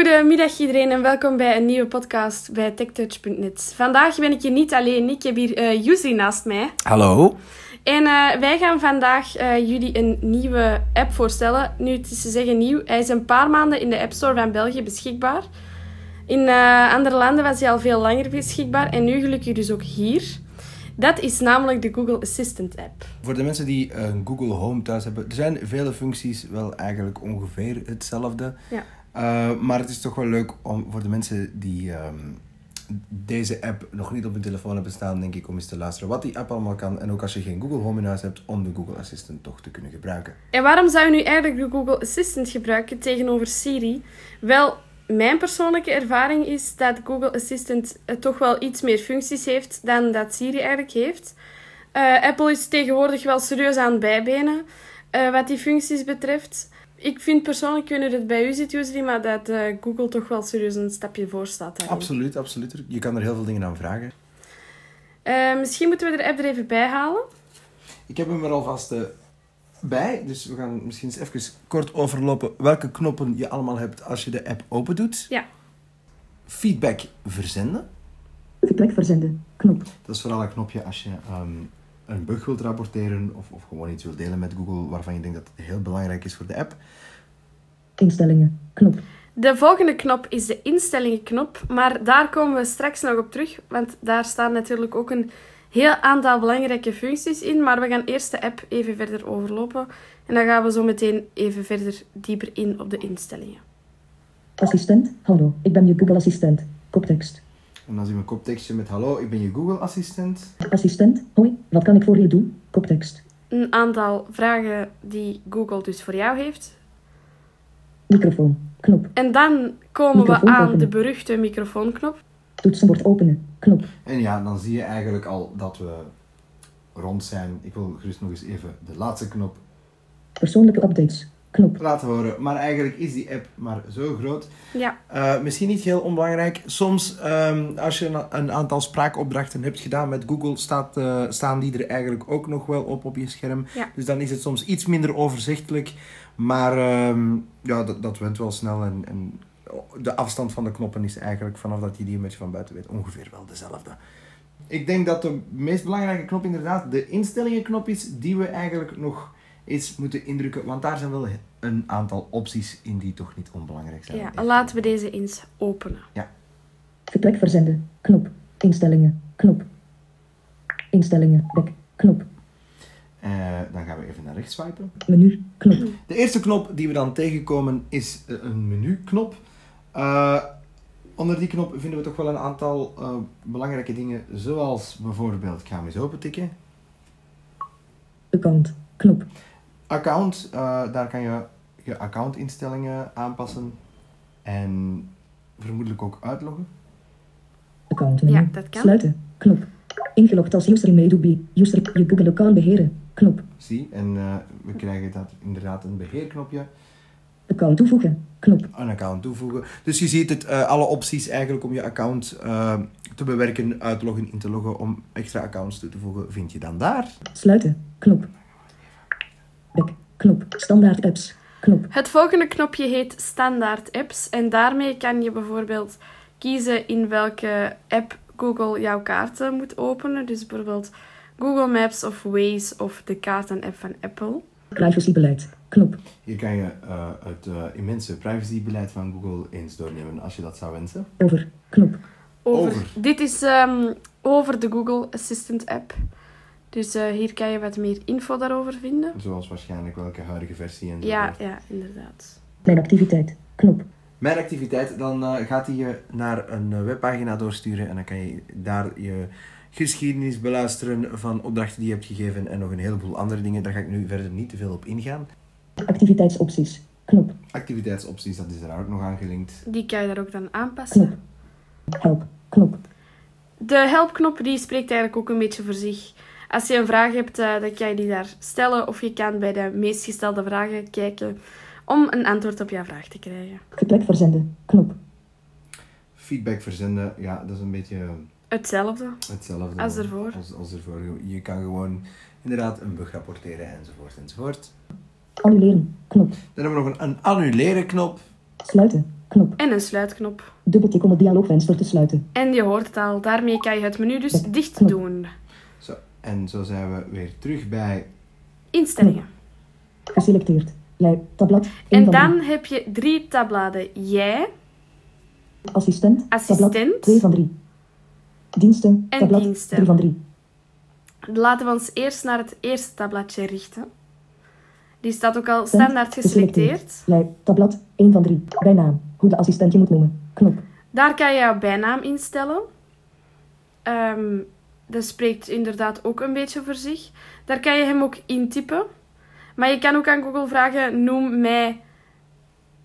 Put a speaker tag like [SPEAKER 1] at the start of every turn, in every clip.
[SPEAKER 1] Goedemiddag iedereen en welkom bij een nieuwe podcast bij techtouch.net. Vandaag ben ik hier niet alleen, ik heb hier eh Yusri naast mij.
[SPEAKER 2] Hallo.
[SPEAKER 1] En eh, wij gaan vandaag eh, jullie een nieuwe app voorstellen. Nu, het is te zeggen nieuw. Hij is een paar maanden in de App Store van België beschikbaar. In eh, andere landen was hij al veel langer beschikbaar en nu gelukkig dus ook hier. Dat is namelijk de Google Assistant app.
[SPEAKER 2] Voor de mensen die een Google Home thuis hebben, er zijn vele functies wel eigenlijk ongeveer hetzelfde.
[SPEAKER 1] Ja.
[SPEAKER 2] Eh, maar het is toch wel leuk om voor de mensen die ehm, deze app nog niet op hun telefoon hebben staan, denk ik, om eens te luisteren wat die app allemaal kan. En ook als je geen Google Home in huis hebt, om de Google Assistant toch te kunnen gebruiken.
[SPEAKER 1] En waarom zou je nu eigenlijk de Google Assistant gebruiken tegenover Siri? Wel, mijn persoonlijke ervaring is dat Google Assistant eh, toch wel iets meer functies heeft dan dat Siri eigenlijk heeft. Eh, Apple is tegenwoordig wel serieus aan het bijbenen eh, wat die functies betreft. Ik vind persoonlijk, ik weet niet hoe het bij u zit, Yusri, maar dat eh, Google toch wel serieus een stapje voor staat. daarin.
[SPEAKER 2] Absoluut, absoluut. Je kan er heel veel dingen aan vragen.
[SPEAKER 1] Eh, misschien moeten we de app er even bij halen.
[SPEAKER 2] Ik heb hem er alvast eh, bij, dus we gaan misschien eens even kort overlopen welke knoppen je allemaal hebt als je de app open doet.
[SPEAKER 1] Ja.
[SPEAKER 2] Feedback verzenden.
[SPEAKER 3] Vertrek verzenden. Knop.
[SPEAKER 2] Dat is vooral een knopje als je ehm, een bug wilt rapporteren of, of gewoon iets wilt delen met Google waarvan je denkt dat het heel belangrijk is voor de app.
[SPEAKER 3] Instellingen. Knop.
[SPEAKER 1] De volgende knop is de instellingenknop, maar daar komen we straks nog op terug, want daar staan natuurlijk ook een heel aantal belangrijke functies in, maar we gaan eerst de app even verder overlopen en dan gaan we zo meteen even verder dieper in op de instellingen.
[SPEAKER 3] Assistent. Hallo, ik ben je Google Assistent. Koptekst.
[SPEAKER 2] En dan zien we een koptekstje met hallo, ik ben je Google assistent.
[SPEAKER 3] Assistent. Hoi, wat kan ik voor je doen? Koptekst.
[SPEAKER 1] Een aantal vragen die Google dus voor jou heeft.
[SPEAKER 3] Microfoon. Knop.
[SPEAKER 1] En dan komen we
[SPEAKER 3] Microfoon
[SPEAKER 1] aan
[SPEAKER 3] openen.
[SPEAKER 1] de beruchte microfoonknop.
[SPEAKER 3] Toetsenbord openen. Knop.
[SPEAKER 2] En ja, dan zie je eigenlijk al dat we rond zijn. Ik wil gerust nog eens even de laatste knop
[SPEAKER 3] Persoonlijke updates. Knop.
[SPEAKER 2] laten horen. Maar eigenlijk is die app maar zo groot.
[SPEAKER 1] Ja,
[SPEAKER 2] Eh, misschien niet heel onbelangrijk. Soms, ehm, als je een, een aantal spraakopdrachten hebt gedaan met Google, staat, eh, staan die er eigenlijk ook nog wel op op je scherm.
[SPEAKER 1] Ja.
[SPEAKER 2] Dus dan is het soms iets minder overzichtelijk. Maar ehm, ja, dat, dat went wel snel. En, en de afstand van de knoppen is eigenlijk, vanaf dat je die een beetje van buiten weet, ongeveer wel dezelfde. Ik denk dat de meest belangrijke knop inderdaad de instellingenknop is, die we eigenlijk nog eens moeten indrukken. Want daar zijn wel een aantal opties in die toch niet onbelangrijk zijn.
[SPEAKER 1] ja, laten we deze eens openen.
[SPEAKER 3] Vertrek verzenden. Knop. Instellingen. Knop. Instellingen. Back. Knop.
[SPEAKER 2] Eh, dan gaan we even naar rechts swipen.
[SPEAKER 3] Menu. Knop.
[SPEAKER 2] De eerste knop die we dan tegenkomen is eh, een menuknop. Eh, onder die knop vinden we toch wel een aantal eh, belangrijke dingen, zoals bijvoorbeeld, ik ga hem eens opentikken.
[SPEAKER 3] Account. Knop.
[SPEAKER 2] Account, eh, daar kan je je accountinstellingen aanpassen en vermoedelijk ook uitloggen.
[SPEAKER 3] Account menu.
[SPEAKER 1] Ja, dat kan.
[SPEAKER 3] Sluiten. Knop. Ingelogd als user in Medobi. User je Google account beheren. Knop.
[SPEAKER 2] Zie, en eh, we krijgen dat inderdaad een beheerknopje.
[SPEAKER 3] Account toevoegen. Knop.
[SPEAKER 2] een account toevoegen. Dus je ziet het, eh, alle opties eigenlijk om je account eh, te bewerken, uitloggen, in te loggen, om extra accounts toe te voegen, vind je dan daar.
[SPEAKER 3] Sluiten. Knop. Back. Knop. Standaard apps. Knop.
[SPEAKER 1] Het volgende knopje heet Standaard Apps. En daarmee kan je bijvoorbeeld kiezen in welke app Google jouw kaarten moet openen. Dus bijvoorbeeld Google Maps of Waze of de kaarten-app van Apple.
[SPEAKER 3] Privacybeleid. Knop.
[SPEAKER 2] Hier kan je eh, het eh, immense privacybeleid van Google eens doornemen als je dat zou wensen.
[SPEAKER 3] Over. Knop.
[SPEAKER 1] Over.
[SPEAKER 2] Over.
[SPEAKER 1] Dit is ehm, over de Google Assistant app. Dus eh, hier kan je wat meer info daarover vinden.
[SPEAKER 2] Zoals waarschijnlijk welke huidige versie en zo.
[SPEAKER 1] Ja,
[SPEAKER 2] voort.
[SPEAKER 1] ja, inderdaad.
[SPEAKER 3] Mijn activiteit. Knop.
[SPEAKER 2] Mijn activiteit, dan eh, gaat hij je naar een eh, webpagina doorsturen en dan kan je daar je geschiedenis beluisteren van opdrachten die je hebt gegeven en nog een heleboel andere dingen. Daar ga ik nu verder niet te veel op ingaan.
[SPEAKER 3] Activiteitsopties. Knop.
[SPEAKER 2] Activiteitsopties, dat is daar ook nog aan gelinkt.
[SPEAKER 1] Die kan je daar ook dan aanpassen.
[SPEAKER 3] Knop. Help. Knop.
[SPEAKER 1] De helpknop die spreekt eigenlijk ook een beetje voor zich. Als je een vraag hebt, eh, dan kan je die daar stellen. Of je kan bij de meest gestelde vragen kijken om een antwoord op jouw vraag te krijgen.
[SPEAKER 3] Vertrek verzenden. Knop.
[SPEAKER 2] Feedback verzenden, ja, dat is een beetje
[SPEAKER 1] Hetzelfde.
[SPEAKER 2] hetzelfde.
[SPEAKER 1] Als ervoor.
[SPEAKER 2] Als, als ervoor. Je kan gewoon inderdaad een bug rapporteren enzovoort enzovoort.
[SPEAKER 3] Annuleren. Knop.
[SPEAKER 2] Dan hebben we nog een, een annuleren knop.
[SPEAKER 3] Sluiten. Knop.
[SPEAKER 1] en een sluitknop.
[SPEAKER 3] Dubbeltik om het dialoogvenster te sluiten.
[SPEAKER 1] En je hoort het al, daarmee kan je het menu dus dicht doen.
[SPEAKER 2] Zo, en zo zijn we weer terug bij...
[SPEAKER 1] Instellingen.
[SPEAKER 3] Geselecteerd. Lei. Tabblad. Eén
[SPEAKER 1] En
[SPEAKER 3] van
[SPEAKER 1] dan heb je drie tabbladen. Jij,
[SPEAKER 3] drie. Assistent. Tabblad.
[SPEAKER 1] Assistent.
[SPEAKER 3] 2 van 3. Diensten.
[SPEAKER 1] En
[SPEAKER 3] tabblad.
[SPEAKER 1] diensten.
[SPEAKER 3] 3 van 3.
[SPEAKER 1] laten we ons eerst naar het eerste tabbladje richten. Die staat ook al standaard geselecteerd.
[SPEAKER 3] Lei. Tabblad. 1 van 3. Bijnaam. Hoe de assistent je moet noemen. Knop.
[SPEAKER 1] Daar kan je jouw bijnaam instellen. Ehm, dat spreekt inderdaad ook een beetje voor zich. Daar kan je hem ook intypen. Maar je kan ook aan Google vragen: noem mij.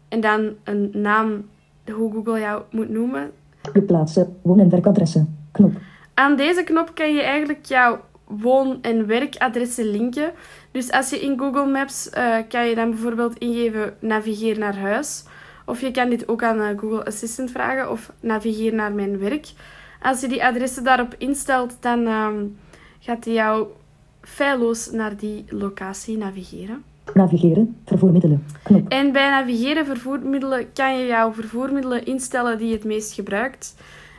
[SPEAKER 1] En dan een naam hoe Google jou moet noemen.
[SPEAKER 3] Je plaatsen. Woon- en werkadressen. Knop.
[SPEAKER 1] Aan deze knop kan je eigenlijk jouw woon- en werkadressen linken. Dus als je in Google Maps eh, kan je dan bijvoorbeeld ingeven navigeer naar huis. Of je kan dit ook aan eh, Google Assistant vragen of navigeer naar mijn werk. Als je die adressen daarop instelt, dan ehm, gaat hij jou feilloos naar die locatie navigeren.
[SPEAKER 3] Navigeren. Vervoermiddelen. Knop.
[SPEAKER 1] En bij navigeren vervoermiddelen kan je jouw vervoermiddelen instellen die je het meest gebruikt.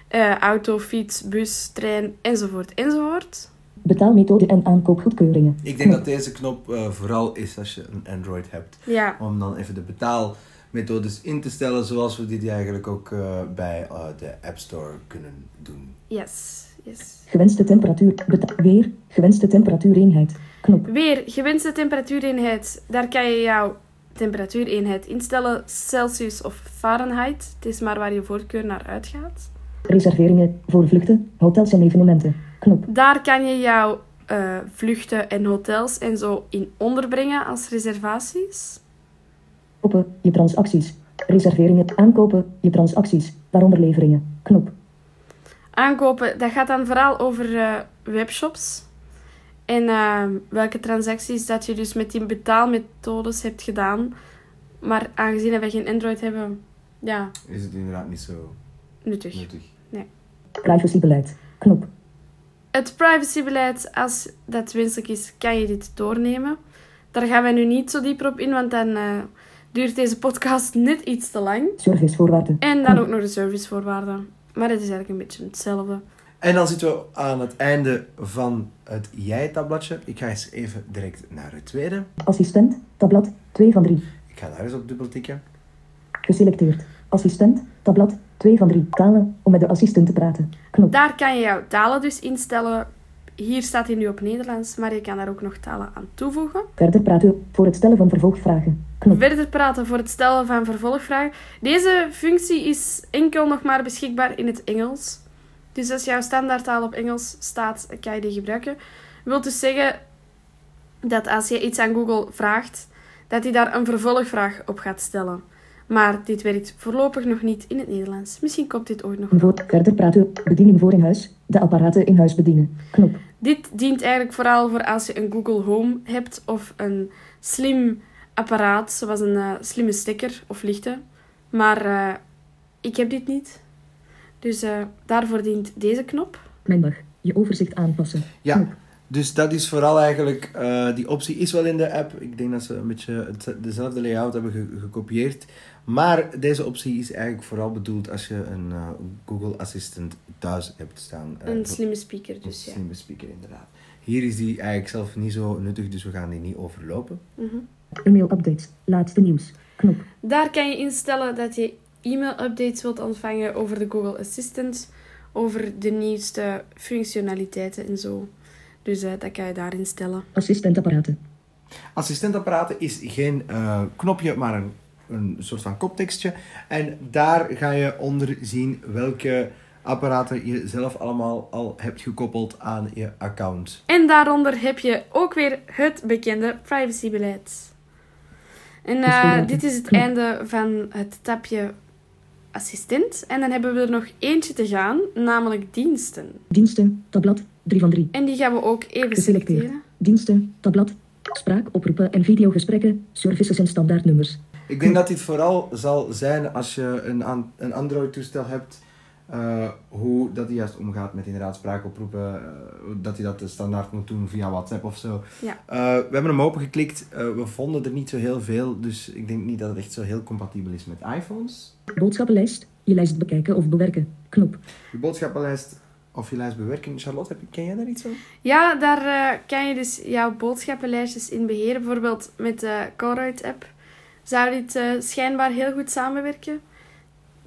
[SPEAKER 1] Eh, auto, fiets, bus, trein, enzovoort, enzovoort.
[SPEAKER 3] Betaalmethode en aankoopgoedkeuringen.
[SPEAKER 2] Ik denk dat
[SPEAKER 3] Knop.
[SPEAKER 2] deze knop eh, vooral is als je een Android hebt.
[SPEAKER 1] Ja,
[SPEAKER 2] Om dan even de betaalmethodes in te stellen zoals we die eigenlijk ook eh, bij eh, de App Store kunnen doen.
[SPEAKER 1] yes, yes.
[SPEAKER 3] Gewenste temperatuur. Beta- weer. Gewenste temperatuureenheid. Knop.
[SPEAKER 1] Weer, gewenste temperatuureenheid. Daar kan je jouw temperatuureenheid instellen, Celsius of Fahrenheit. Het is maar waar je voorkeur naar uitgaat.
[SPEAKER 3] Reserveringen. Voor vluchten. Hotels en evenementen. Knop.
[SPEAKER 1] Daar kan je jouw eh, vluchten en hotels en zo in onderbrengen als reservaties.
[SPEAKER 3] Kopen. Je transacties. Reserveringen. Aankopen. Je transacties. Waaronder leveringen. Knop.
[SPEAKER 1] Aankopen, dat gaat dan vooral over eh, webshops. En eh, welke transacties dat je dus met die betaalmethodes hebt gedaan. Maar aangezien dat wij geen Android hebben, ja,
[SPEAKER 2] Is het inderdaad niet zo
[SPEAKER 1] nuttig.
[SPEAKER 2] nuttig.
[SPEAKER 3] Privacybeleid. Knop.
[SPEAKER 1] Het privacybeleid, als dat wenselijk is, kan je dit doornemen. Daar gaan we nu niet zo dieper op in, want dan eh, duurt deze podcast net iets te lang.
[SPEAKER 3] Servicevoorwaarden.
[SPEAKER 1] En dan ook nog de servicevoorwaarden. Maar het is eigenlijk een beetje hetzelfde.
[SPEAKER 2] En dan zitten we aan het einde van het jij-tabbladje. Ik ga eens even direct naar het tweede.
[SPEAKER 3] Assistent. Tabblad. 2 van 3.
[SPEAKER 2] Ik ga daar eens op dubbel tikken.
[SPEAKER 3] Geselecteerd. Assistent. Tabblad. 2 van 3. Talen. Om met de assistent te praten. Knop.
[SPEAKER 1] Daar kan je jouw talen dus instellen. Hier staat hij nu op Nederlands, maar je kan daar ook nog talen aan toevoegen.
[SPEAKER 3] Verder praten. Voor het stellen van vervolgvragen. Knop.
[SPEAKER 1] Verder praten voor het stellen van vervolgvragen. Deze functie is enkel nog maar beschikbaar in het Engels. Dus als jouw standaardtaal op Engels staat, kan je die gebruiken. Wil dus zeggen dat als je iets aan Google vraagt, dat hij daar een vervolgvraag op gaat stellen. Maar dit werkt voorlopig nog niet in het Nederlands. Misschien komt dit ooit nog.
[SPEAKER 3] Voor verder praten. Bediening voor in huis. De apparaten in huis bedienen. Knop.
[SPEAKER 1] Dit dient eigenlijk vooral voor als je een Google Home hebt of een slim apparaat, zoals een eh, slimme stekker of lichten. Maar eh, ik heb dit niet. Dus eh, daarvoor dient deze knop.
[SPEAKER 3] Mijn dag. Je overzicht aanpassen.
[SPEAKER 2] Ja, dus dat is vooral eigenlijk... eh, die optie is wel in de app. Ik denk dat ze een beetje het- dezelfde layout hebben ge- gekopieerd. Maar deze optie is eigenlijk vooral bedoeld als je een eh, Google Assistant thuis hebt staan. Eh,
[SPEAKER 1] Een
[SPEAKER 2] voor-
[SPEAKER 1] slimme speaker
[SPEAKER 2] een
[SPEAKER 1] dus, ja.
[SPEAKER 2] slimme speaker, inderdaad. Hier is die eigenlijk zelf niet zo nuttig, dus we gaan die niet overlopen.
[SPEAKER 1] Mhm.
[SPEAKER 3] E-mail updates. Laatste nieuws. Knop.
[SPEAKER 1] Daar kan je instellen dat je e-mail-updates wilt ontvangen over de Google Assistant, over de nieuwste functionaliteiten en zo. Dus eh, dat kan je daar instellen.
[SPEAKER 3] Assistentapparaten.
[SPEAKER 2] Assistentapparaten is geen eh, knopje, maar een, een soort van koptekstje. En daar ga je onder zien welke apparaten je zelf allemaal al hebt gekoppeld aan je account.
[SPEAKER 1] En daaronder heb je ook weer het bekende privacybeleid. En eh,
[SPEAKER 3] Privacybeleid.
[SPEAKER 1] dit is het
[SPEAKER 3] Knop.
[SPEAKER 1] einde van het tapje assistent. En dan hebben we er nog eentje te gaan, namelijk diensten.
[SPEAKER 3] Diensten. Tabblad. 3 van 3.
[SPEAKER 1] En die gaan we ook even
[SPEAKER 3] Geselecteerd.
[SPEAKER 1] selecteren.
[SPEAKER 3] Diensten. Tabblad. Spraak, oproepen en videogesprekken. Services en standaardnummers.
[SPEAKER 2] Ik denk dat dit vooral zal zijn als je een, an- een Android-toestel hebt eh, hoe dat hij juist omgaat met inderdaad spraakoproepen, eh, dat hij dat eh, standaard moet doen via WhatsApp of zo.
[SPEAKER 1] Ja.
[SPEAKER 2] Eh, we hebben hem opengeklikt, eh, we vonden er niet zo heel veel, dus ik denk niet dat het echt zo heel compatibel is met iPhones.
[SPEAKER 3] Boodschappenlijst. Je lijst bekijken of bewerken. Knop.
[SPEAKER 2] Je boodschappenlijst of je lijst bewerken, Charlotte, heb je, ken jij daar iets van?
[SPEAKER 1] Ja, daar eh, kan je dus jouw boodschappenlijstjes in beheren. Bijvoorbeeld met de Colruyt-app zou dit eh, schijnbaar heel goed samenwerken.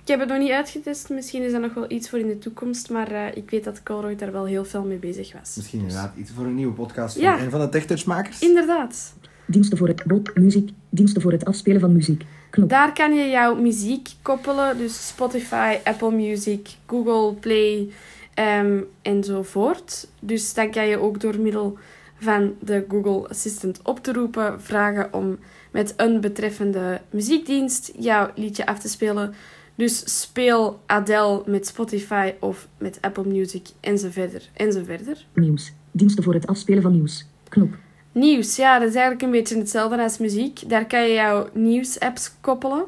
[SPEAKER 1] Ik heb het nog niet uitgetest. Misschien is dat nog wel iets voor in de toekomst. Maar eh, ik weet dat Colruyt daar wel heel veel mee bezig was.
[SPEAKER 2] Misschien
[SPEAKER 1] Dus-
[SPEAKER 2] inderdaad iets voor een nieuwe podcast van
[SPEAKER 1] Ja.
[SPEAKER 2] een van de TechTouchmakers.
[SPEAKER 1] Inderdaad.
[SPEAKER 3] Diensten voor het bot. Muziek. Diensten voor het afspelen van muziek. Knop.
[SPEAKER 1] Daar kan je jouw muziek koppelen. Dus Spotify, Apple Music, Google Play ehm, enzovoort. Dus dan kan je ook door middel van de Google Assistant op te roepen vragen om met een betreffende muziekdienst jouw liedje af te spelen. Dus speel Adele met Spotify of met Apple Music enzoverder. enzoverder.
[SPEAKER 3] Nieuws. Diensten voor het afspelen van nieuws. Knop.
[SPEAKER 1] Nieuws, ja, dat is eigenlijk een beetje hetzelfde als muziek. Daar kan je jouw nieuwsapps koppelen.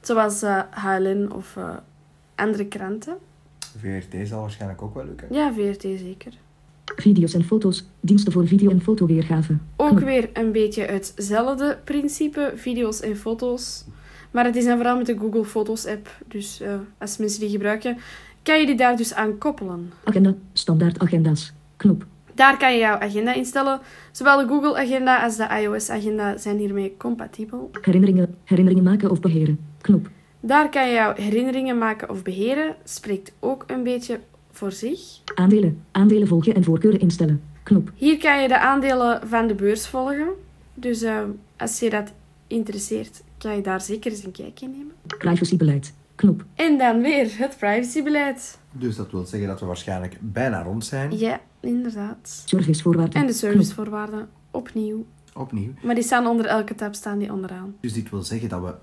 [SPEAKER 1] Zoals eh HLN of eh, andere kranten.
[SPEAKER 2] VRT zal waarschijnlijk ook wel lukken.
[SPEAKER 1] Ja, VRT zeker.
[SPEAKER 3] Video's en foto's. Diensten voor video- en fotoweergave.
[SPEAKER 1] Ook weer een beetje hetzelfde principe, video's en foto's. Maar het is dan vooral met de Google Foto's app. Dus eh, als mensen die gebruiken, kan je die daar dus aan koppelen.
[SPEAKER 3] Agenda. Standaard agenda's. Knop.
[SPEAKER 1] Daar kan je jouw agenda instellen. Zowel de Google Agenda als de iOS Agenda zijn hiermee compatibel.
[SPEAKER 3] Herinneringen. Herinneringen maken of beheren. Knop.
[SPEAKER 1] Daar kan je jouw herinneringen maken of beheren. Spreekt ook een beetje voor zich.
[SPEAKER 3] Aandelen. Aandelen volgen en voorkeuren instellen. Knop.
[SPEAKER 1] Hier kan je de aandelen van de beurs volgen. Dus eh, als je dat interesseert, kan je daar zeker eens een kijkje nemen.
[SPEAKER 3] Privacybeleid. Knop.
[SPEAKER 1] En dan weer het privacybeleid.
[SPEAKER 2] Dus dat wil zeggen dat we waarschijnlijk bijna rond zijn.
[SPEAKER 1] Ja, inderdaad.
[SPEAKER 3] Servicevoorwaarden.
[SPEAKER 1] En de servicevoorwaarden opnieuw.
[SPEAKER 2] Opnieuw.
[SPEAKER 1] Maar die staan onder elke tab staan die onderaan.
[SPEAKER 2] Dus dit wil zeggen dat we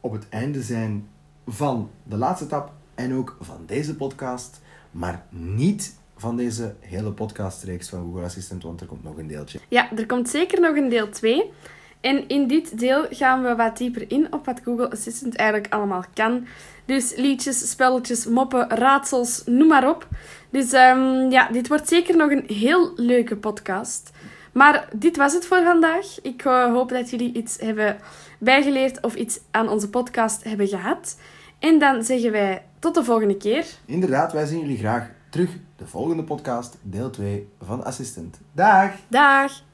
[SPEAKER 2] op het einde zijn van de laatste tap en ook van deze podcast, maar niet van deze hele podcastreeks van Google Assistant, want er komt nog een deeltje.
[SPEAKER 1] Ja, er komt zeker nog een deel 2. En in dit deel gaan we wat dieper in op wat Google Assistant eigenlijk allemaal kan. Dus liedjes, spelletjes, moppen, raadsels, noem maar op. Dus ehm, ja, dit wordt zeker nog een heel leuke podcast. Maar dit was het voor vandaag. Ik eh, hoop dat jullie iets hebben bijgeleerd of iets aan onze podcast hebben gehad. En dan zeggen wij tot de volgende keer.
[SPEAKER 2] Inderdaad, wij zien jullie graag terug de volgende podcast, deel 2 van Assistant. Dag!
[SPEAKER 1] Dag!